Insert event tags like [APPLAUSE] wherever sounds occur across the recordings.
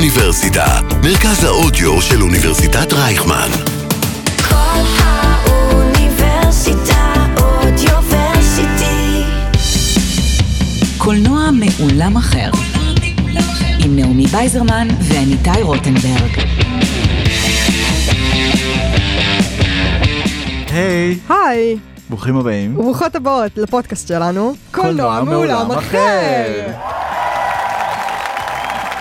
האוניברסיטה, מרכז האודיו של אוניברסיטת רייכמן. כל האוניברסיטה אודיוורסיטי. קולנוע מעולם אחר, עם נעמי בייזרמן ואניטאי רוטנברג. היי, היי, ברוכים הבאים. וברוכות הבאות לפודקאסט שלנו, קולנוע מעולם אחר.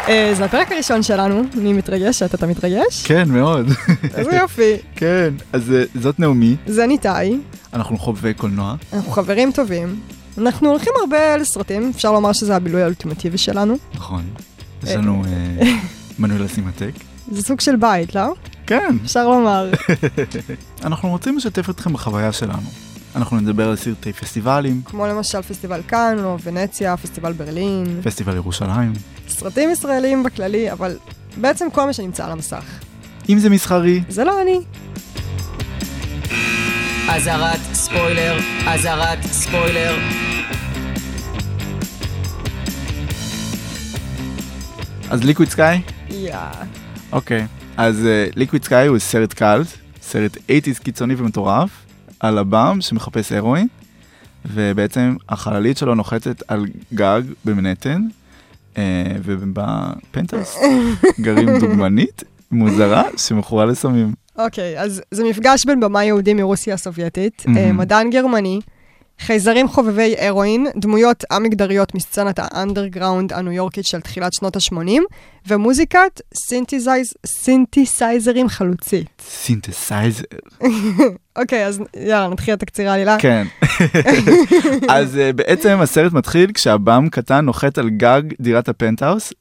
אה, זה הפרק הראשון שלנו, אני מתרגשת, אתה מתרגש? כן, מאוד. [LAUGHS] איזה יופי. כן, אז אה, זאת נעמי, זה ניתאי, אנחנו חובבי קולנוע. אנחנו חברים טובים. אנחנו הולכים הרבה לסרטים, אפשר לומר שזה הבילוי האולטימטיבי שלנו. נכון. יש אה. לנו אה, מנוי לסימטק. זה סוג של בית, לא? כן, אפשר לומר. [LAUGHS] אנחנו רוצים לשתף אתכם בחוויה שלנו. אנחנו נדבר על סרטי פסטיבלים, כמו למשל פסטיבל קאן, או ונציה, פסטיבל ברלין, פסטיבל ירושלים. סרטים ישראליים בכללי, אבל בעצם כל מה שנמצא על המסך. אם זה מסחרי, זה לא אני. אזהרת ספוילר, אזהרת ספוילר. אז ליקוויד סקאי? יאה. אוקיי. אז ליקוויד סקאי הוא סרט קאלט, סרט 80's קיצוני ומטורף, על הבם שמחפש הרואין, ובעצם החללית שלו נוחתת על גג במנהטן, אה, ובפנטהאוס גרים דוגמנית מוזרה שמכורה לסמים. אוקיי, אז זה מפגש בין במאי יהודי מרוסיה הסובייטית, Mhm. אה, מדען גרמני, חייזרים חובבי הרואין, דמויות א-מגדריות מסצנת האנדרגראונד הניו יורקית של תחילת שנות ה-80, ומוזיקת סינתסייז, סינתסייזרים חלוצית. סינתסייזר. אוקיי, אז יאללה, נתחיל את הקצירה העלילה. כן. אז אה, בעצם הסרט מתחיל כשהבם קטן נוחת על גג דירת הפנטהאוס,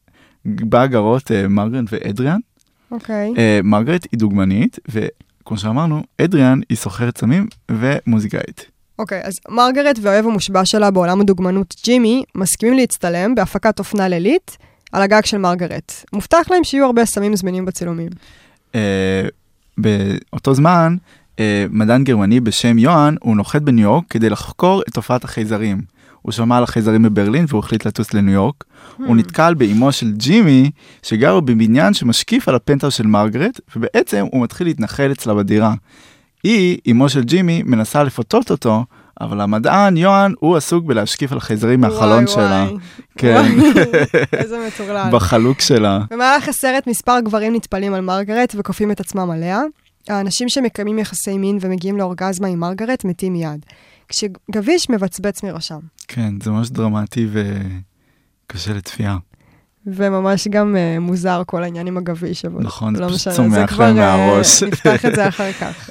בה גרות אה, מרגרן ואדריאן. אוקיי. אה, מרגרט היא דוגמנית, וכמו שאמרנו, אדריאן היא סוחרת סמים ומוזיקאית. אוקיי, אז מרגרט והאוהב המושבע שלה בעולם הדוגמנות ג'ימי מסכימים להצטלם בהפקת אופנה לילית על הגג של מרגרט. מובטח להם שיהיו הרבה סמים זמינים בצילומים. אה, באותו זמן, אה, מדען גרמני בשם יוהאן, הוא נוחת בניו יורק כדי לחקור את תופעת החייזרים. הוא שמע על החייזרים בברלין והוא החליט לטוס לניו יורק. Hmm. הוא נתקל באימו של ג'ימי, שגר בבניין שמשקיף על הפנטהאוס של מרגרט, ובעצם הוא מתחיל להתנחל אצלה בדירה. היא, אימו של ג'ימי, מנסה לפתות אותו, אבל המדען, יוהאן, הוא עסוק בלהשקיף על החייזרים מהחלון וואי, שלה. וואי. [LAUGHS] כן. וואי, איזה מטורלל. בחלוק שלה. במהלך הסרט מספר גברים נטפלים על מרגרט וכופים את עצמם עליה. האנשים שמקיימים יחסי מין ומגיעים לאורגזמה עם מרגרט מתים מיד. כשגביש מבצבץ מראשם. כן, זה ממש דרמטי וקשה לצפייה. וממש גם uh, מוזר כל העניין עם הגביש, אבל נכון, זה לא פשוט משנה, צומח זה להם כבר, אה, מהראש. [LAUGHS] נפתח את זה אחר Uh, כך.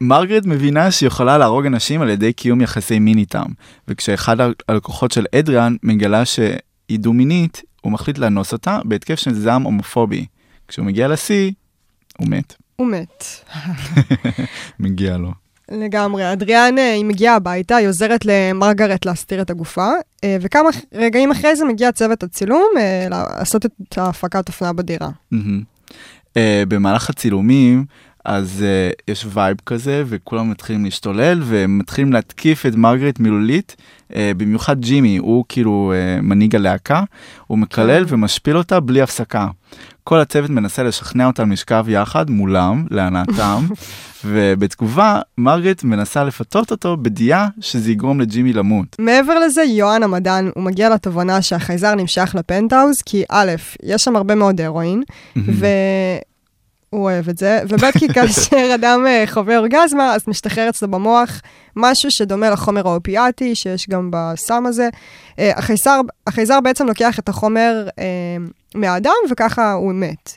מרגרט מבינה שהיא יכולה להרוג אנשים על ידי קיום יחסי מין איתם, וכשאחד ה- הלקוחות של אדריאן מגלה שהיא דו-מינית, הוא מחליט לאנוס אותה בהתקף של זעם הומופובי. כשהוא מגיע לשיא, הוא מת. הוא מת. מגיע לו. לגמרי. אדריאן, אה, היא מגיעה הביתה, היא עוזרת למרגרט להסתיר את הגופה, אה, וכמה רגעים אחרי זה מגיע צוות הצילום אה, לעשות את ההפקת אופנה בדירה. מהמם. אה, במהלך הצילומים, אז אה, יש וייב כזה, וכולם מתחילים להשתולל, והם מתחילים להתקיף את מרגרט מילולית, אה, במיוחד ג'ימי, הוא כאילו אה, מנהיג הלהקה, הוא מקלל ומשפיל אותה בלי הפסקה. כל הצוות מנסה לשכנע אותם לשכב יחד מולם, להנאתם, ובתגובה, מרגרט מנסה לפתות אותו בדיעה שזה יגרום לג'ימי למות. מעבר לזה, יוהאן המדען, הוא מגיע לתובנה שהחייזר נמשך לפנטהאוז, כי א', יש שם הרבה מאוד הרואין, Mm-hmm. והוא אוהב את זה, וב', כי כאשר אדם אה, חווה אורגזמה, אז משתחרר אצלו במוח משהו שדומה לחומר האופיאטי, שיש גם בסם הזה. אה, החייזר, החייזר בעצם לוקח את החומר אה, מהאדם, וככה הוא מת.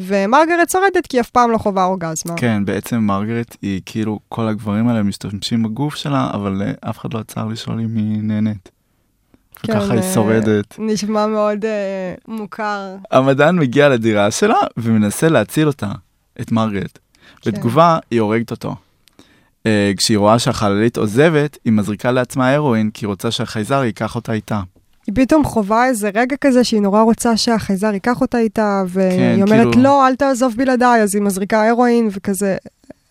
ומרגרט שורדת כי היא אף פעם לא חווה אורגזמה. כן, בעצם מרגרט היא כאילו, כל הגברים האלה משתמשים בגוף שלה, אבל אה, אף אחד לא עצר לשאול אם היא נהנית. כן, וככה היא אה, שורדת. נשמע מאוד אה, מוכר. המדען מגיע לדירה שלה ומנסה להציל אותה, את מרגרט. כן. בתגובה, היא הורגת אותו. אה, כשהיא רואה שהחללית עוזבת, היא מזריקה לעצמה הרואין, כי היא רוצה שהחייזר ייקח אותה איתה. היא פתאום חווה איזה רגע כזה שהיא נורא רוצה שהחייזר ייקח אותה איתה, והיא כן, אומרת, כאילו- לא, אל תעזוב בלעדיי, אז היא מזריקה הרואין וכזה.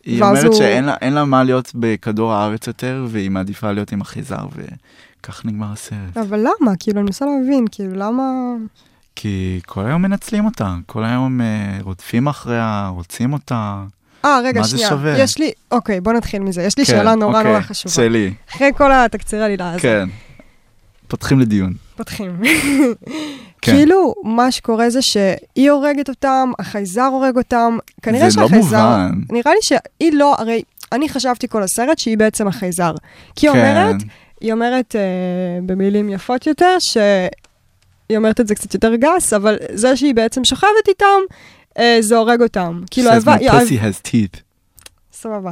היא ואז אומרת הוא- שאין לה, אין לה מה להיות בכדור הארץ יותר, והיא מעדיפה להיות עם החייזר, וכך נגמר הסרט. אבל למה? כאילו, אני מנסה להבין, כאילו, למה... כי כל היום מנצלים אותה, כל היום אה, רודפים אחריה, רוצים אותה. אה, רגע, מה זה שנייה. שווה? יש לי, אוקיי, בוא נתחיל מזה. יש לי שאלה נורא אוקיי, נורא חשובה. שלי, אחרי כל התקציר העלילה הזה, כן. פותחים לדיון. פותחים. [LAUGHS] כן. כאילו, מה שקורה זה שהיא הורגת אותם, החייזר הורג אותם. כנראה זה לא שהחייזר... מובן. נראה לי שהיא לא, הרי אני חשבתי כל הסרט שהיא בעצם החייזר. כי היא אומרת, כן, היא אומרת אה, במילים יפות יותר, שהיא אומרת את זה קצת יותר גס, אבל זה שהיא בעצם שוכבת איתם, אה, זה הורג אותם. כאילו, says my האיבר- pussy has teeth. סבבה.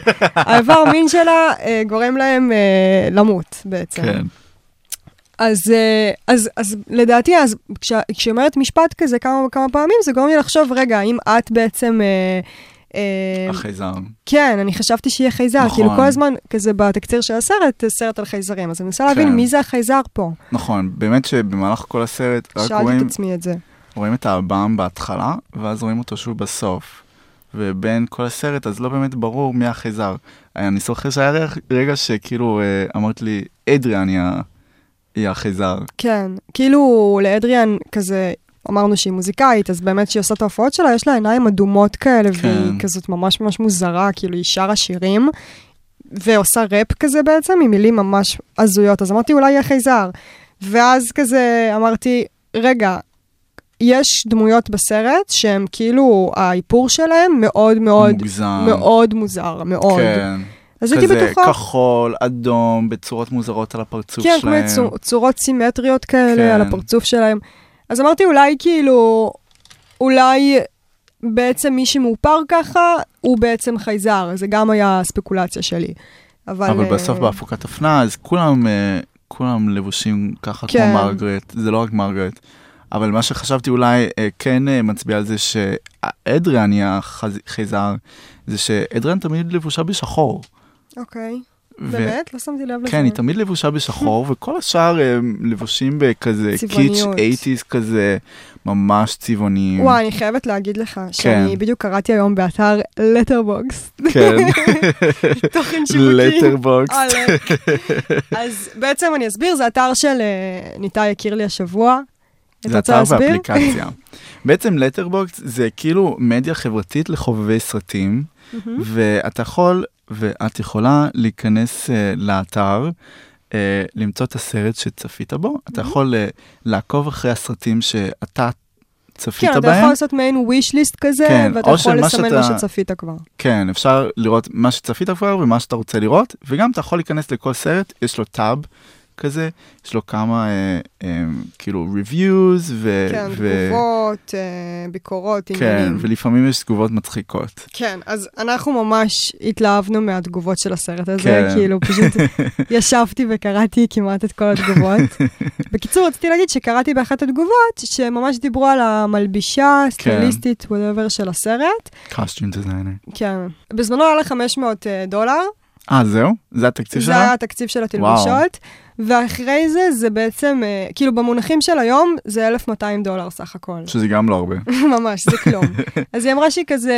[LAUGHS] האיבר מין שלה אה, גורם להם אה, למות בעצם. כן. אז, אה, אז, אז לדעתי, אז כש, כשהיא אומרת משפט כזה כמה וכמה פעמים, זה גורם לי לחשוב, רגע, האם את בעצם... אה, אה, החייזר. כן, אני חשבתי שיהיה חייזר, נכון. כאילו כל הזמן, כזה בתקציר של הסרט, אה, סרט על חייזרים, אז אני מנסה להבין כן. מי זה החייזר פה. נכון, באמת שבמהלך כל הסרט רק שאלתי רואים, את עצמי את זה. רואים את האב"ם בהתחלה, ואז רואים אותו שוב בסוף. ובין כל הסרט, אז לא באמת ברור מי החייזר. אני זוכר שהיה רגע- רגע שכאילו אה, אמרת לי, אדריאן היא ה- היא החייזר. כן, כאילו לאדריאן כזה, אמרנו שהיא מוזיקאית, אז באמת שהיא עושה את ההופעות שלה, יש לה עיניים אדומות כאלה, כן. כן. והיא כזאת ממש ממש מוזרה, כאילו היא שרה שירים, ועושה ראפ כזה בעצם, עם מילים ממש הזויות. אז אמרתי, אולי יהיה חייזר. ואז כזה אמרתי, רגע, יש דמויות בסרט שהן כאילו, האיפור שלהן מאוד מאוד, מוגזם. מאוד מוזר, מאוד. כן. כן. אז הייתי בטוחה... כזה כחול, אדום, בצורות מוזרות על הפרצוף כן, שלהם. כן, כמו צור, צורות סימטריות כן. כאלה כן. על הפרצוף שלהם. אז אמרתי, אולי כאילו, אולי בעצם מי שמאופר ככה, הוא בעצם חייזר. זה גם היה הספקולציה שלי. אבל... אבל אה, בסוף בהפקת אופנה, אז כולם, אה, כולם לבושים ככה כמו כן. מרגרט, זה לא רק מרגרט. אבל מה שחשבתי אולי אה, כן אה, מצביע על זה שאדריאן היא החייזר, זה שאדריאן תמיד לבושה בשחור. אוקיי. ו- באמת? לא שמתי לב לזה. כן, היא תמיד לבושה [LAUGHS] בשחור, וכל השאר אה, לבושים בכזה קיץ' צבעוניות. 80's כזה, ממש צבעוניים. וואי, אני חייבת להגיד לך שאני כן. בדיוק קראתי היום באתר לטרבוקס, [LAUGHS] [LAUGHS] כן, תוכן שיווקי. לטרבוקס. [LAUGHS] עלק. אז בעצם אני אסביר, זה אתר של אה, ניתאי הכיר לי השבוע. את זה רוצה אתר להסביר? [LAUGHS] ואפליקציה. בעצם לטרבוקס זה כאילו מדיה חברתית לחובבי סרטים, ואתה יכול, ואת יכולה להיכנס אה, לאתר, אה, למצוא את הסרט שצפית בו, אתה יכול אה, לעקוב אחרי הסרטים שאתה צפית כן, אתה יכול בהם. לעשות מעין wish list כזה, כן, ואתה או יכול של מה לסמן שאתה- מה שצפית כבר. כן, אפשר לראות מה שצפית כבר ומה שאתה רוצה לראות, וגם אתה יכול להיכנס לכל סרט, יש לו טאב כזה, יש לו כמה אה, אה, כאילו reviews, אה, ו... כן, ו- תגובות, אה, ביקורות, כן, עניינים. ולפעמים יש תגובות מצחיקות. כן, אז אנחנו ממש התלהבנו מהתגובות של הסרט הזה, כן. כאילו פשוט [LAUGHS] ישבתי וקראתי כמעט את כל התגובות. בקיצור, רציתי להגיד שקראתי באחת התגובות, שממש דיברו על המלבישה, כן. סטייליסטית, וואטאבר של הסרט. קוסטים דיזיינר. כן. בזמנו היה לה 500 אה, דולר, אה, זהו? זה התקציב זה היה שלה? התקציב של התלבושות, ואחרי זה זה בעצם, אה, כאילו במונחים של היום, זה 1,200 דולר סך הכל. שזה גם לא הרבה. [LAUGHS] ממש, זה כלום. [LAUGHS] אז היא אמרה שהיא כזה,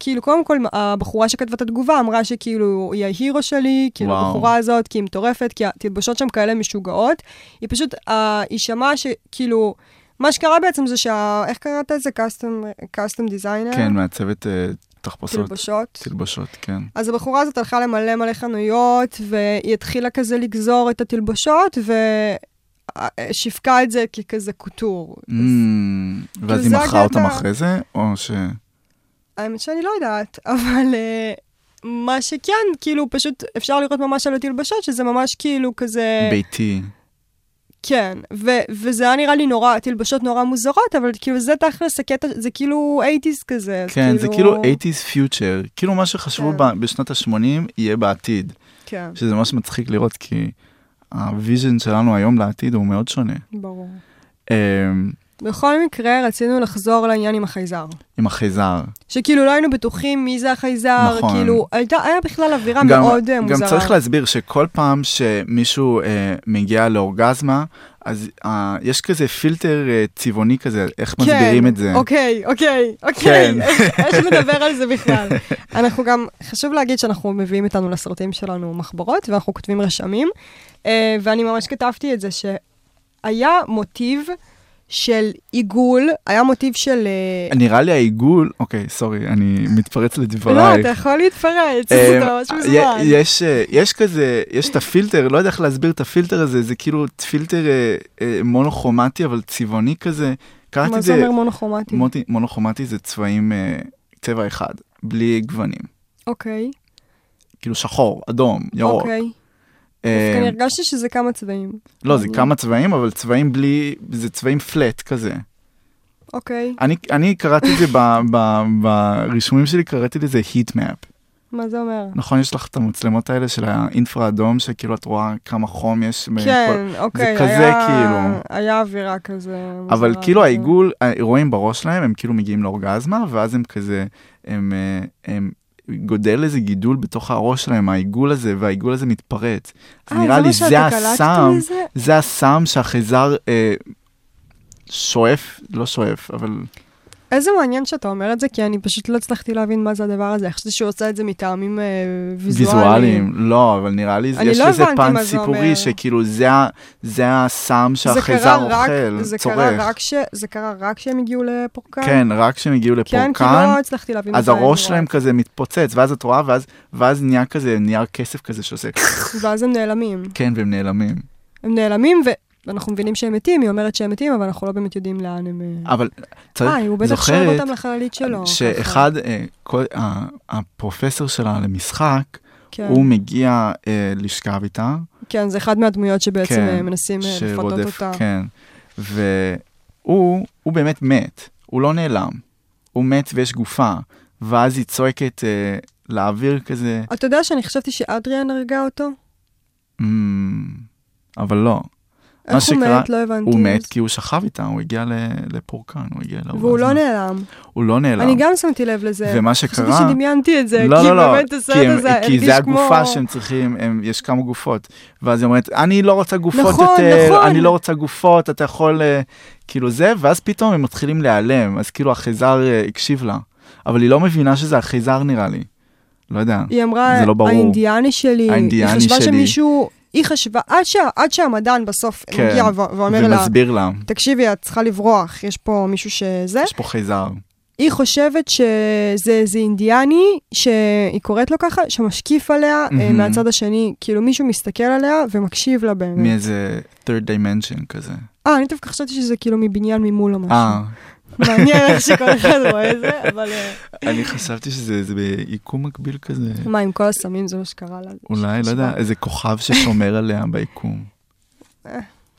כאילו, קודם כל, הבחורה שכתבה את התגובה אמרה שכאילו, היא ההירו שלי, כאילו, וואו. הבחורה הזאת, כי היא מטורפת, כי התלבושות שם כאלה משוגעות. היא פשוט, אה, היא שמעה שכאילו, מה שקרה בעצם זה שה... איך קראת לזה? קאסטום דיזיינר? כן, מעצבת אה, תחפושות. תלבושות. תלבשות, כן. אז הבחורה הזאת הלכה למלא מלא חנויות, והיא התחילה כזה לגזור את התלבושות, ושיווקה את זה ככזה קוטור. Mm, אז ואז היא כאילו, זה מכרה אותם הגדרה. אחרי זה, או ש... האמת שאני לא יודעת, [LAUGHS] אבל uh, מה שכן, כאילו, פשוט אפשר לראות ממש על התלבשות, שזה ממש כאילו כזה... ביתי. כן, ו- וזה היה נראה לי נורא, תלבשות נורא מוזרות, אבל כאילו זה תכלס הקטע, זה כאילו 80's כזה. אז כן, זה כאילו 80's future. כאילו מה שחשבו כן. ב- בשנות ה-80 יהיה בעתיד. כן, שזה ממש מצחיק לראות, כי הוויז'ן שלנו היום לעתיד הוא מאוד שונה. ברור. אה, בכל מקרה, רצינו לחזור לעניין עם החייזר. עם החייזר. שכאילו לא היינו בטוחים מי זה החייזר, נכון. כאילו, הייתה, היה בכלל אווירה גם- מאוד אה, מוזרה. גם צריך להסביר שכל פעם שמישהו אה, מגיע לאורגזמה, אז אה, יש כזה פילטר אה, צבעוני כזה, איך מסבירים את זה. כן, כן. אוקיי, אוקיי, אוקיי. [LAUGHS] איך נדבר על זה בכלל? אנחנו גם, חשוב להגיד שאנחנו מביאים איתנו לסרטים שלנו מחברות, ואנחנו כותבים רשמים, אה, ואני ממש כתבתי את זה שהיה מוטיב של עיגול, היה מוטיב של... אה, נראה לי העיגול, אוקיי, סורי, אני מתפרץ לדברייך. לא, אתה יכול להתפרץ, אמ, אתה ממש י- מוזמן. יש, אה, יש כזה, יש את הפילטר, לא יודע איך להסביר את הפילטר הזה, זה כאילו פילטר אה, אה, מונוכרומטי, אבל צבעוני כזה. קראתי מה את זה זה, אומר מונוכרומטי? מוטי- מונוכרומטי זה צבעים, אה, צבע אחד, בלי גוונים. אוקיי, כאילו שחור, אדום, ירוק. אוקיי. אה, דווקא אני הרגשתי שזה כמה צבעים. לא, זה כמה צבעים, אבל צבעים בלי, זה צבעים פלט כזה. אוקיי, אני- אני קראתי את זה ב- ב- ברישומים שלי, קראתי לזה heat map. מה זה אומר? נכון, יש לך את המצלמות האלה של האינפרה אדום, שכאילו את רואה כמה חום יש. בכל- כן, אוקיי, כזה היה- כאילו. היה אווירה כזה. אבל מוזרה כאילו כזה. העיגול, אה, רואים בראש שלהם, הם כאילו מגיעים לאורגזמה, ואז הם כזה, הם, אה, הם גודל איזה גידול בתוך הראש שלהם, העיגול הזה, והעיגול הזה מתפרץ. אז אה, נראה זה לי מה זה שאתה קלטת הסם, מזה? זה הסם שהחייזר אה, שואף, לא שואף, אבל איזה מעניין שאתה אומר את זה, כי אני פשוט לא הצלחתי להבין מה זה הדבר הזה. חשבתי שהוא עושה את זה מטעמים אה, ויזואליים. ויזואליים. לא, אבל נראה לי, אני יש לא לזה הבנתי מה פן זה אומר. סיפורי, שכאילו זה ה- זה הסם זה שהחייזר קרה רק- אוכל, זה קרה צורך. רק ש- זה קרה רק כשהם הגיעו לפורקן? כן, רק כשהם הגיעו כן, כי לפורקן, לא הצלחתי להבין אז את האירוע. הראש שלהם כזה מתפוצץ, ואז את רואה, ואז, ואז נהיה כזה נייר כסף כזה שעושה, [LAUGHS] ואז הם נעלמים. כן, והם נעלמים. הם נעלמים, ואנחנו מבינים שהם מתים, היא אומרת שהם מתים, אבל אנחנו לא באמת יודעים לאן הם... אה, אבל צריך, אה, הוא בטח שואב זוכרת אותם לחללית שלו. שאחד, אה, כל, ה- הפרופסור שלה למשחק, כן, הוא מגיע אה, לשכב איתה, כן, זה אחד מהדמויות שבעצם כן, אה, מנסים אה, לפתות שרודף, אותה. כן, והוא הוא באמת מת, הוא לא נעלם, הוא מת ויש גופה, ואז היא צועקת אה, לאוויר כזה, אתה יודע שאני חשבתי שאדריאן הרגה אותו? "אמ, אבל לא. מה איך הוא שקרה- מת? לא הבנתי. הוא מת כי הוא שכב איתה, הוא הגיע ל- לפורקן, הוא הגיע לאורגזמה. והוא לא נעלם. הוא לא נעלם. אני גם שמתי לב לזה. ומה חשבתי שקרה... שדמיינתי את זה, לא, כי לא, לא, באמת הסרט כי, הם, הזה הרגיש כמו... כי זה הגופה שהם צריכים, הם, יש כמה גופות. ואז היא אומרת, אני לא רוצה גופות נכון, יותר, נכון. אני לא רוצה גופות, אתה יכול... אה, כאילו זה, ואז פתאום הם מתחילים להיעלם, אז כאילו החייזר אה, הקשיב לה. אבל היא לא מבינה שזה החייזר נראה לי. לא יודע. היא אמרה, זה לא ברור. האינדיאני שלי, האינדיאני היא חשבה שלי. שמישהו, היא חשבה, עד, שה, עד שהמדען בסוף כן, מגיע ו- ואומר לה, ומסביר לה, תקשיבי, את צריכה לברוח, יש פה מישהו שזה. יש פה חייזר. היא חושבת שזה איזה אינדיאני, שהיא קוראת לו ככה, שמשקיף עליה mm-hmm. מהמם. מהצד השני, כאילו מישהו מסתכל עליה ומקשיב לה באמת. מאיזה third dimension כזה. אה, אני דווקא חשבתי שזה כאילו מבניין ממול או משהו. אה, מעניין [LAUGHS] איך שכל אחד רואה את זה, אבל... אה, אני חשבתי שזה זה ביקום מקביל כזה. [LAUGHS] מה, עם כל הסמים זה מה שקרה לה? אולי, לא יודע, איזה כוכב ששומר עליה ביקום. [LAUGHS]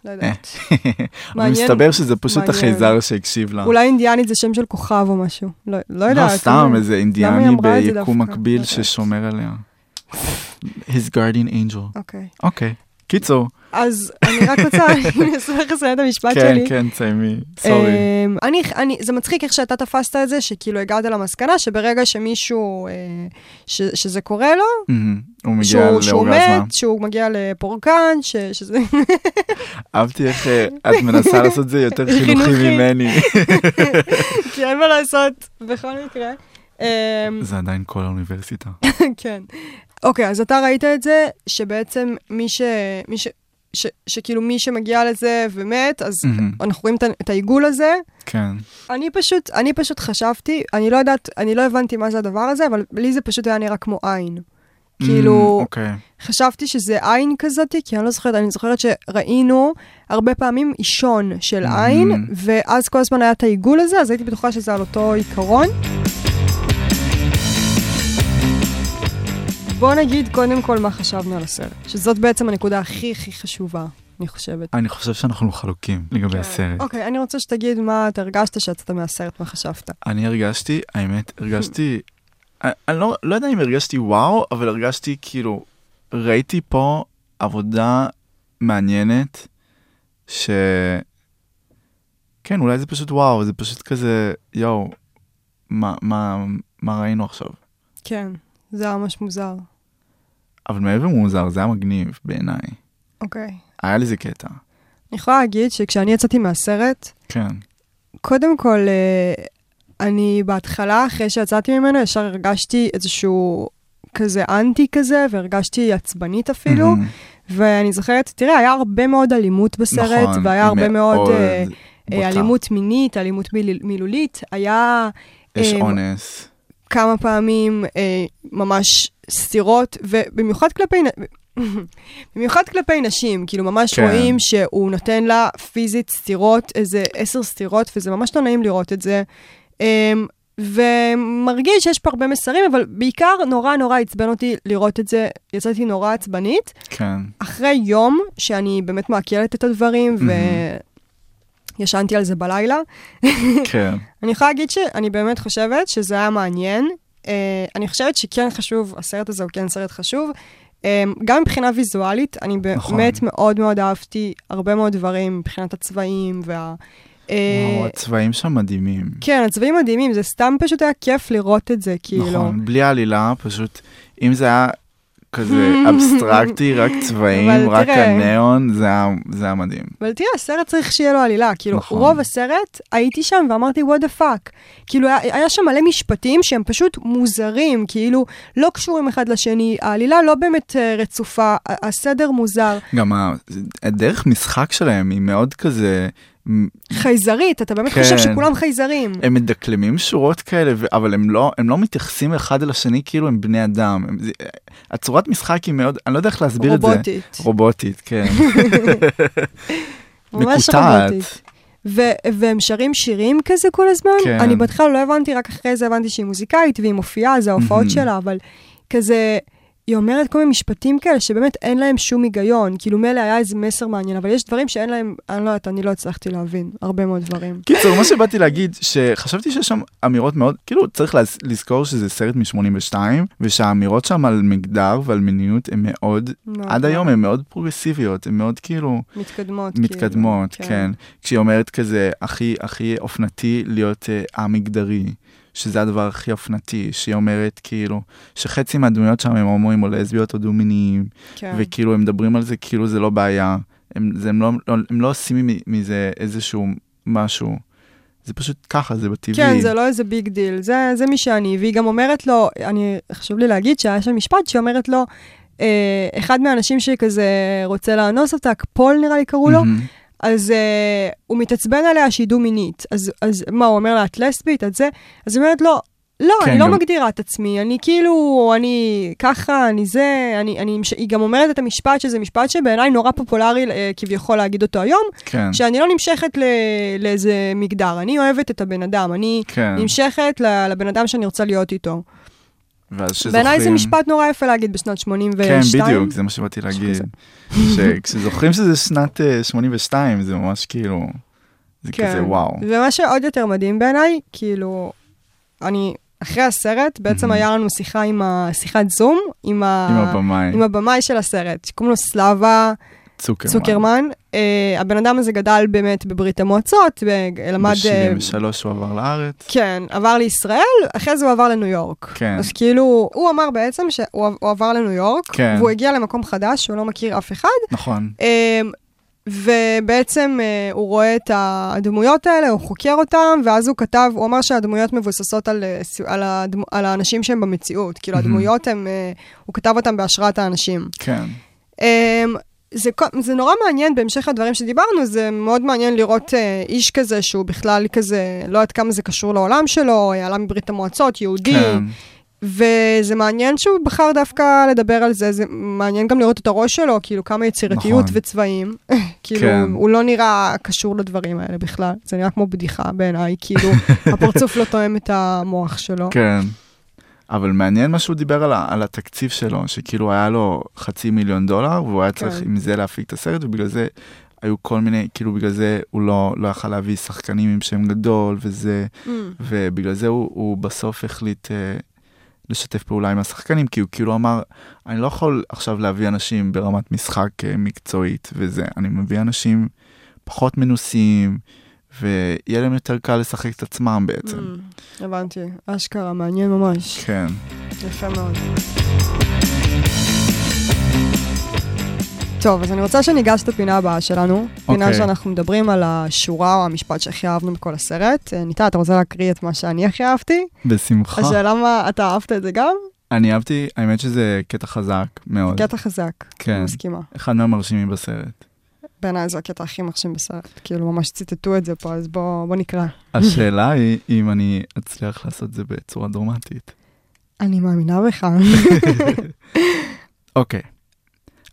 לא יודעת. אה, אבל מעניין. מסתבר שזה פשוט מעניין. החייזר שהקשיב לה. אולי אינדיאנית זה שם של כוכב או משהו. לא לא יודעת. לא, סתם אבל- איזה למה היא אינדיאני אמרה את זה ביקום דווקא? מקביל לא יודעת. ששומר עליה. His guardian angel. אוקיי. אוקיי. קיצור, אז אני רק רוצה, [LAUGHS] אני אשמח לסיים את המשפט כן, שלי. כן, תסיימי, סורי. אמ, אני, אני, זה מצחיק איך שאתה תפסת את זה, שכאילו הגעת למסקנה שברגע שמישהו, אה, ש, שזה קורה לו, מהמם. הוא מגיע שהוא, שהוא לאורגזמה. מת, שהוא מגיע לפורקן, ש, שזה... [LAUGHS] אהבתי איך אה, את מנסה לעשות זה יותר חינוכי חינוכי. ממני. כי אין מה לעשות, בכל מקרה. [LAUGHS] אמ, זה עדיין כל [LAUGHS] האוניברסיטה. כן. אוקיי, אז אתה ראית את זה, שבעצם מי ש... מי ש... ש... שכאילו מי שמגיע לזה ומת, אז מהמם. אנחנו רואים את ה- את העיגול הזה. כן. אני פשוט, אני פשוט חשבתי, אני לא יודעת, אני לא הבנתי מה זה הדבר הזה, אבל לי זה פשוט היה נראה כמו עין. Mm, כאילו, אוקיי. חשבתי שזה עין כזאת, כי אני לא זוכרת, אני זוכרת שראינו הרבה פעמים אישון של עין, ואז כל הזמן היה את העיגול הזה, אז הייתי בטוחה שזה על אותו עיקרון. בוא נגיד קודם כל מה חשבנו על הסרט, שזאת בעצם הנקודה הכי הכי חשובה, אני חושבת. אני חושב שאנחנו חלוקים לגבי הסרט. אוקיי, אני רוצה שתגיד מה אתה הרגשת שיצאת מהסרט, מה חשבת. אני הרגשתי, האמת, הרגשתי, אני אני לא, לא יודע אם הרגשתי וואו, אבל הרגשתי כאילו, ראיתי פה עבודה מעניינת, ש... כן, אולי זה פשוט וואו, זה פשוט כזה, יואו, מה, מה, מה ראינו עכשיו? כן, זה היה ממש מוזר. אבל מעבר מוזר, זה היה מגניב בעיניי. אוקיי. היה לזה קטע. אני יכולה להגיד שכשאני יצאתי מהסרט, כן. קודם כל, אה, אני בהתחלה, אחרי שיצאתי ממנו, ישר הרגשתי איזשהו כזה אנטי כזה, והרגשתי עצבנית אפילו. מהמם. ואני זוכרת, תראה, היה הרבה מאוד אלימות בסרט, נכון, והיה הרבה מאוד... מאוד. אה, אה, בוטה. אלימות מינית, אלימות מיל- מילולית, היה יש אה, אונס. כמה פעמים אה, ממש סתירות, ובמיוחד כלפי, נ- [LAUGHS] במיוחד כלפי נשים, כאילו ממש כן. כן. רואים שהוא נותן לה פיזית סתירות, איזה עשר סתירות, וזה ממש לא נעים לראות את זה. אה, ומרגיש שיש פה הרבה מסרים, אבל בעיקר נורא נורא עצבן אותי לראות את זה, יצאתי נורא עצבנית. כן. אחרי יום שאני באמת מעכלת את הדברים, וישנתי על זה בלילה, כן. אני יכולה להגיד שאני באמת חושבת שזה היה מעניין. Uh, אני חושבת שכן חשוב, הסרט הזה הוא כן סרט חשוב. Um, גם מבחינה ויזואלית, אני באמת נכון. נכון. מאוד מאוד אהבתי הרבה מאוד דברים מבחינת הצבעים וה... [LAUGHS] אה, וואו, הצבעים שם מדהימים. כן, הצבעים מדהימים, זה סתם פשוט היה כיף לראות את זה, כאילו. נכון, בלי עלילה, פשוט, אם זה היה כזה [LAUGHS] אבסטרקטי, רק צבעים, אבל רק תראה. הניאון, זה היה- זה היה מדהים. אבל תראה, הסרט צריך שיהיה לו עלילה. כאילו, נכון. נכון. רוב הסרט, הייתי שם ואמרתי, what the fuck. כאילו, היה, היה שם מלא משפטים שהם פשוט מוזרים, כאילו, לא קשורים אחד לשני, העלילה לא באמת אה, רצופה, ה- הסדר מוזר. גם ה- הדרך משחק שלהם היא מאוד כזה, מ- חייזרית, אתה באמת כן. כן. חושב שכולם חייזרים. הם מדקלמים שורות כאלה, ו- אבל הם לא, הם לא מתייחסים אחד אל השני כאילו הם בני אדם. הם- זה- הצורת משחק היא מאוד, אני לא יודע איך להסביר את זה. רובוטית. רובוטית, כן. ממש מקוטעת. רובוטית. ו- והם שרים שירים כזה כל הזמן? כן. אני בהתחלה לא הבנתי, רק אחרי זה הבנתי שהיא מוזיקאית והיא מופיעה, זה ההופעות מהמם. שלה, אבל כזה, היא אומרת כל מיני משפטים כאלה שבאמת אין להם שום היגיון. כאילו מילא היה איזה מסר מעניין, אבל יש דברים שאין להם, אני לא יודעת, אני לא הצלחתי להבין הרבה מאוד דברים. קיצור, מה שבאתי להגיד, שחשבתי שיש שם אמירות מאוד, כאילו צריך לז- לזכור שזה סרט מ-82, ושהאמירות שם על מגדר ועל מיניות הן מאוד, מאוד עד מאוד היום הן מאוד פרוגרסיביות, הן מאוד כאילו מתקדמות. כאילו. מתקדמות, כן. כשהיא אומרת כזה, הכי הכי אופנתי להיות אה, א-מגדרי, שזה הדבר הכי אופנתי, שהיא אומרת כאילו, שחצי מהדמויות שם הם הומואים או לסביות או דו-מיניים, כן. וכאילו הם מדברים על זה כאילו זה לא בעיה, הם, זה, הם, לא, לא, הם לא עושים מ- מזה איזשהו משהו, זה פשוט ככה, זה בטבעי. כן, זה לא איזה ביג דיל, זה, זה מי שאני. והיא גם אומרת לו, אני, חשוב לי להגיד שהיה שם משפט שאומרת לו, אה, אחד מהאנשים שכזה רוצה לאנוס אותה, פול נראה לי קראו לו, מהמם. אז אה, הוא מתעצבן עליה שהיא דו-מינית. אז, אז מה, הוא אומר לה, את לסבית, את זה? אז היא אומרת לו, לא, כן, כן, אני לא גם- מגדירה את עצמי, אני כאילו, אני ככה, אני זה, אני, אני, היא גם אומרת את המשפט, שזה משפט שבעיניי נורא פופולרי אה, כביכול להגיד אותו היום, כן, שאני לא נמשכת ל- לאיזה מגדר, אני אוהבת את הבן אדם, אני כן. נמשכת ל- לבן אדם שאני רוצה להיות איתו. ואז שזוכרים... בעיניי זה משפט נורא יפה להגיד בשנת 82. כן, בדיוק, זה מה שבאתי להגיד. שכשזוכרים שזה שנת אה, 82, זה ממש כאילו, זה כן. כזה וואו. ומה שעוד יותר מדהים בעיניי, כאילו, אני, אחרי הסרט, בעצם מהמם. היה לנו שיחה עם ה... שיחת זום, עם, ה... Mm-hmm. עם הבמאי, עם הבמאי של הסרט, שקוראים לו סלאבה צוקרמן. צוקרמן. אה, הבן אדם הזה גדל באמת בברית המועצות, ו- למד... אה, ב-73 הוא עבר לארץ. כן, עבר לישראל, אחרי זה הוא עבר לניו יורק. כן. אז כאילו, הוא אמר בעצם שהוא הוא עבר לניו יורק, כן. והוא הגיע למקום חדש, שהוא לא מכיר אף אחד, נכון. אמ, ובעצם אה, הוא רואה את הדמויות האלה, הוא חוקר אותן, ואז הוא כתב, הוא אמר שהדמויות מבוססות על, אה, ס- על, הדמו, על האנשים שהם במציאות. כאילו, מהמם. הדמויות הם, אה, הוא כתב אותן בהשראת האנשים. כן. אמ, זה, כל- זה נורא מעניין בהמשך הדברים שדיברנו, זה מאוד מעניין לראות אה, איש כזה שהוא בכלל כזה, לא יודעת כמה זה קשור לעולם שלו, אה, עלה מברית המועצות, יהודי, כן. וזה מעניין שהוא בחר דווקא לדבר על זה, זה מעניין גם לראות את הראש שלו, כאילו כמה יצירתיות נכון. וצבעים. [LAUGHS] כאילו, כן. הוא לא נראה קשור לדברים האלה בכלל, זה נראה כמו בדיחה בעיניי, [LAUGHS] כאילו, הפרצוף לא תואם את המוח שלו. כן. אבל מעניין מה שהוא דיבר על, ה- על התקציב שלו, שכאילו היה לו חצי מיליון דולר, והוא היה צריך כן. עם זה להפיק את הסרט, ובגלל זה היו כל מיני, כאילו בגלל זה הוא לא, לא יכל להביא שחקנים עם שם גדול וזה, Mm. ובגלל זה הוא, הוא בסוף החליט אה, לשתף פעולה עם השחקנים, כי הוא כאילו אמר, אני לא יכול עכשיו להביא אנשים ברמת משחק אה, מקצועית וזה, אני מביא אנשים פחות מנוסים, ויהיה להם יותר קל לשחק את עצמם בעצם. Mm. הבנתי, אשכרה, מעניין ממש, כן. יפה מאוד. טוב, אז אני רוצה שניגש לפינה הבאה שלנו, פינה אוקיי. שאנחנו מדברים על השורה או המשפט שהכי אהבנו בכל הסרט. אה, ניתן, אתה רוצה להקריא את מה שאני הכי אהבתי? בשמחה. השאלה מה, אתה אהבת את זה גם? אני אהבתי, האמת שזה קטע חזק מאוד. קטע חזק, כן. אני מסכימה. אחד מהמרשימים בסרט. בעיניי זו הקטע הכי מרשים בסרט. כאילו, ממש ציטטו את זה פה, אז בוא, בוא נקרא. השאלה היא אם אני אצליח לעשות את זה בצורה דרמטית. אני מאמינה בך. [LAUGHS] Okay.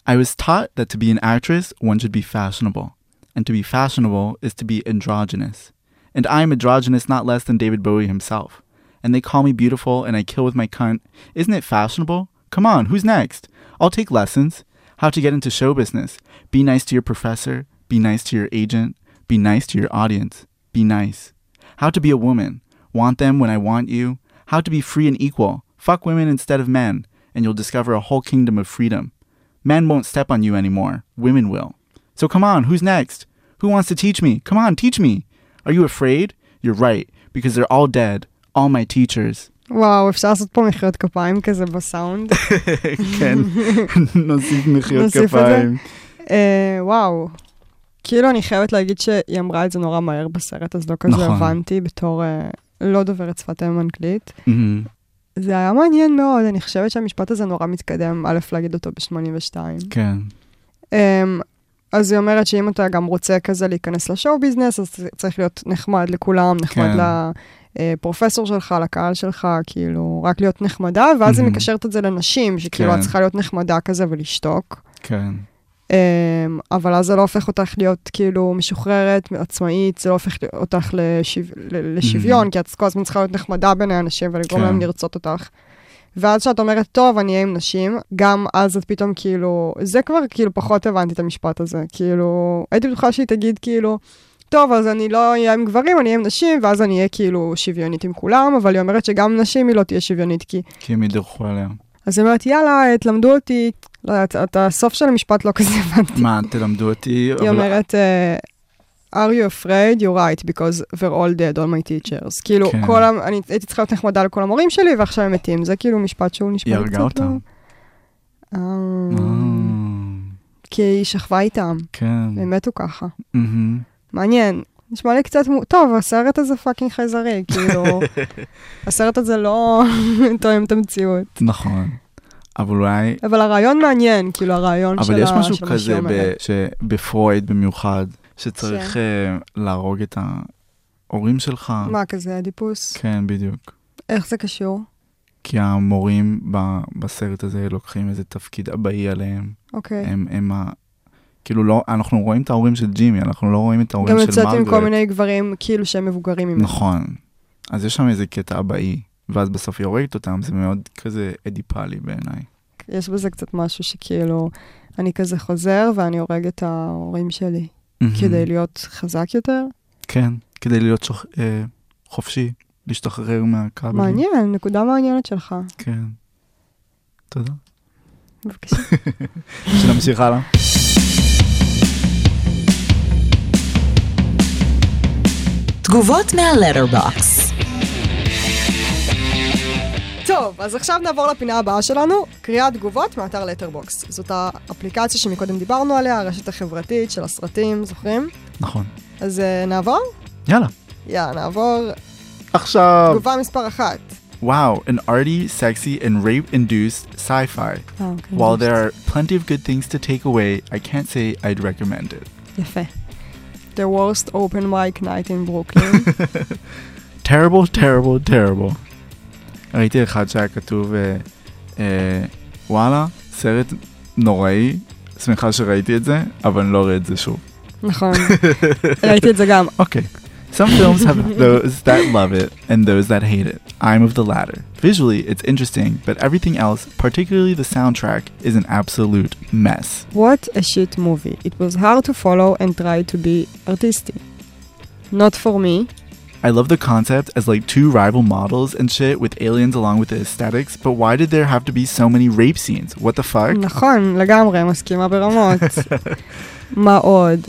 I was taught that to be an actress, one should be fashionable. And to be fashionable is to be androgynous. And I am androgynous not less than David Bowie himself. And they call me beautiful and I kill with my cunt. Isn't it fashionable? Come on, who's next? I'll take lessons. How to get into show business. Be nice to your professor. Be nice to your agent. Be nice to your audience. Be nice. How to be a woman. Want them when I want you. How to be free and equal. Fuck women instead of men, and you'll discover a whole kingdom of freedom. Men won't step on you anymore. Women will. So come on, who's next? Who wants to teach me? Come on, teach me. Are you afraid? You're right, because they're all dead. All my teachers. [LAUGHS] וואו, אפשר לעשות פה מחיאות כפיים כזה בסאונד. [LAUGHS] כן, נוסיף מחיאות נוסיף את זה. כפיים. אה, וואו. כאילו, אני חייבת להגיד שהיא אמרה את זה נורא מהר בסרט, אז לא כזה נכון. הבנתי בתור אה, לא דוברת שפת אם אנגלית. מהמם. זה היה מעניין מאוד, אני חושבת שהמשפט הזה נורא מתקדם, א', להגיד אותו ב-82. כן. אמ, אז היא אומרת שאם אתה גם רוצה כזה להיכנס לשואו ביזנס, אז צריך להיות נחמד לכולם, נחמד כן. לפרופסור שלך, לקהל שלך, כאילו, רק להיות נחמדה, ואז היא מהמם. מקשרת את זה לנשים, שכאילו כן. את צריכה להיות נחמדה כזה ולשתוק. כן. אמ, אבל אז זה לא הופך אותך להיות כאילו משוחררת, עצמאית, זה לא הופך אותך לשו... ל- לשוויון, מהמם. כי את כל הזמן צריכה להיות נחמדה בין האנשים ולגרום כן. להם לרצות אותך. ואז כשאת אומרת, טוב, אני אהיה עם נשים, גם אז את פתאום כאילו, זה כבר כאילו פחות הבנתי את המשפט הזה. כאילו, הייתי בטוחה שהיא תגיד כאילו, טוב, אז אני לא אהיה עם גברים, אני אהיה עם נשים, ואז אני אהיה כאילו שוויונית עם כולם, אבל היא אומרת שגם עם נשים היא לא תהיה שוויונית, כי כי הם ידרכו עליה. אז היא אומרת, יאללה, תלמדו אותי. לא יודעת, את הסוף של המשפט לא כזה הבנתי. מה, תלמדו אותי? היא אבל- אומרת, אה, are you afraid? You're right, because they're all dead, all my teachers. כאילו, כן. כל ה... אני הייתי צריכה להיות נחמדה לכל המורים שלי, ועכשיו הם מתים. זה כאילו משפט שהוא נשמע היא לי קצת... הרגה אותם. לא- אה, אה, Ah, כי היא שכבה איתם, כן. והם מתו ככה. מהמם. מעניין. נשמע לי קצת... מו- טוב, הסרט הזה פאקינג חייזרי, [LAUGHS] כאילו... הסרט הזה לא [LAUGHS] תואם את המציאות. נכון. אבל אולי אבל הרעיון מעניין, כאילו, הרעיון של ה... אבל יש משהו של מה שהיא כזה אומרת. כן. ב- שבפרויד במיוחד, שצריך אה, להרוג את ההורים שלך. מה, כזה אדיפוס? אה. כן, בדיוק. איך זה קשור? כי המורים ב- בסרט הזה לוקחים איזה תפקיד אבאי עליהם. אוקיי. הם, הם ה... כאילו לא, אנחנו רואים את ההורים של ג'ימי, אנחנו לא רואים את ההורים גם של יוצאת מרגרט. עם כל מיני גברים כאילו שהם מבוגרים ממנו. נכון. אז יש שם איזה קטע אבאי, ואז בסוף היא הורגת אותם, זה מאוד כזה אדיפלי בעיניי. יש בזה קצת משהו שכאילו, אני כזה חוזר ואני הורג את ההורים שלי Mm-hmm. כדי להיות חזק יותר. כן, כדי להיות שוח... אה, חופשי, להשתחרר מהכבל. מעניין, נקודה מעניינת שלך. כן. תודה. [LAUGHS] בבקשה. שנמשיך הלאה. תגובות מהלטרבוקס. טוב, אז עכשיו נעבור לפינה הבאה שלנו, קריאת תגובות מאתר לטרבוקס. זאת האפליקציה שמקודם דיברנו עליה, הרשת החברתית של הסרטים, זוכרים? נכון. אז אה, נעבור? יאללה. יאללה, נעבור. עכשיו. תגובה מספר אחת. Wow, an arty, sexy, and rape-induced sci-fi. אה, אוקיי. While there are plenty of good things to take away, I can't say I'd recommend it. [LAUGHS] יפה. The worst open mic night in Brooklyn. [LAUGHS] Terrible, terrible, terrible. ראיתי אחד שהיה כתוב, אה, אה, וואלה, סרט נוראי, שמחה שראיתי את זה, אבל אני לא אראה את זה שוב. נכון. ראיתי את זה גם. Okay. Some films have [LAUGHS] those that love it and those that hate it. I'm of the latter. Visually, it's interesting, but everything else, particularly the soundtrack, is an absolute mess. What a shit movie. It was hard to follow and try to be artistic. Not for me. I love the concept as like two rival models and shit with aliens along with the aesthetics, but why did there have to be so many rape scenes? What the fuck? נכון, לגמרי, [LAUGHS] מסכימה ברמות. [LAUGHS] מה עוד?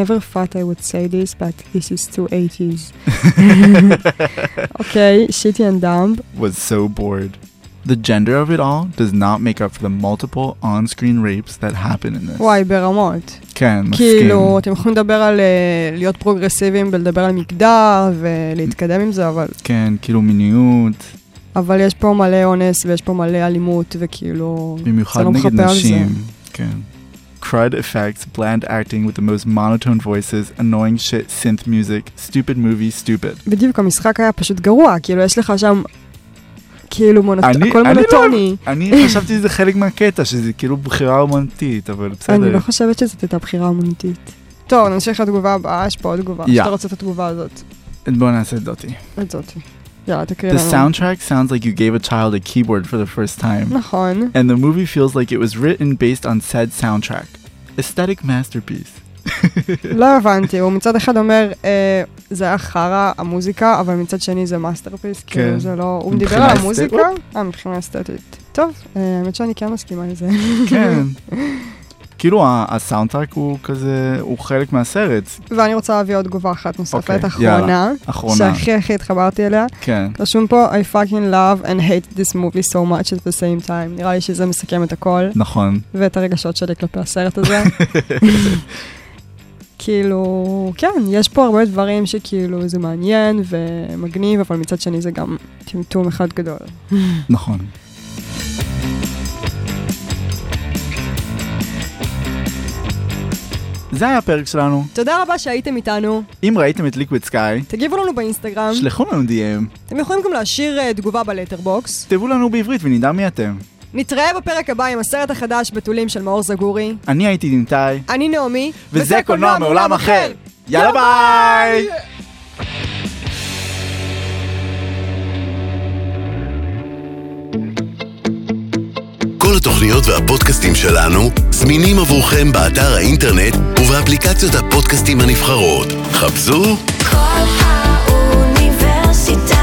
never thought I would say this, but this is too 80s. אוקיי, שיטי and dumb. Was so bored. The gender of it all does not make up for the multiple on-screen rapes that happen in this. וואי, ברמות. Can כאילו, אתם יכולים לדבר על אה, להיות פרוגרסיביים ולדבר על מגדר ולהתקדם עם זה, אבל can כאילו מיניות, אבל יש פה מלא אונס ויש פה מלא אלימות, וכאילו... במיוחד לא נגד מחפה על זה. נשים. כן. crud effects, bland acting with the most monotone voices, annoying shit, synth music, stupid movie, stupid. בדיוק, המשחק היה פשוט גרוע, כאילו, יש לך שם, כאילו, מונות... אני- הכל אני לא- מונוטוני. [LAUGHS] אני חשבתי שזה חלק מהקטע, שזה כאילו בחירה אומנותית, אבל אני בסדר. לא חושבת שזאת הייתה בחירה אמנותית. טוב, נמשיך לתגובה הבאה, יש פה עוד תגובה. יא. שאתה רוצה את התגובה הזאת. בוא נעשה את דותי. את זאתי. יאללה, תקריא The לנו. soundtrack sounds like you gave a child a keyboard for the first [LAUGHS] time. נכון. And the movie feels like it was written based on said soundtrack. Aesthetic [LAUGHS] masterpiece. לא הבנתי, הוא מצד אחד אומר, אה, זה היה חרא, המוזיקה, אבל מצד שני זה מאסטרפיס, כן. כאילו זה לא... הוא דיבר מבחינה על אסתטית. המוזיקה? אה, מבחינה אסתטית. טוב, אה, האמת שאני כן מסכימה לזה. כן. כאילו ה- הסאונדטרק הוא כזה, הוא חלק מהסרט, ואני רוצה להביא עוד תגובה אחת נוספת, אוקיי, אחרונה, אחרונה. שהכי הכי התחברתי אליה. כן. רשום פה, I fucking love and hate this movie so much at the same time. נראה לי שזה מסכם את הכל, נכון. ואת הרגשות שלי כלפי [LAUGHS] הסרט הזה. כאילו, כן, יש פה הרבה דברים שכאילו זה מעניין ומגניב, אבל מצד שני זה גם טמטום אחד גדול. נכון. זה היה הפרק שלנו. תודה רבה שהייתם איתנו, אם ראיתם את ליקוויד סקאי, תגיבו לנו באינסטגרם, שלחו לנו DM, אתם יכולים גם להשאיר אה, תגובה בלטרבוקס. תכתבו לנו בעברית ונדע מי אתם. נתראה בפרק הבא עם הסרט החדש בתולים של מאור זגורי. אני הייתי דינתאי, אני נעמי, וזה קולנוע מעולם אחר. יאללה ביי! כל התוכניות והפודקאסטים שלנו זמינים עבורכם באתר האינטרנט ובאפליקציות הפודקאסטים הנבחרות. חפשו כל האוניברסיטה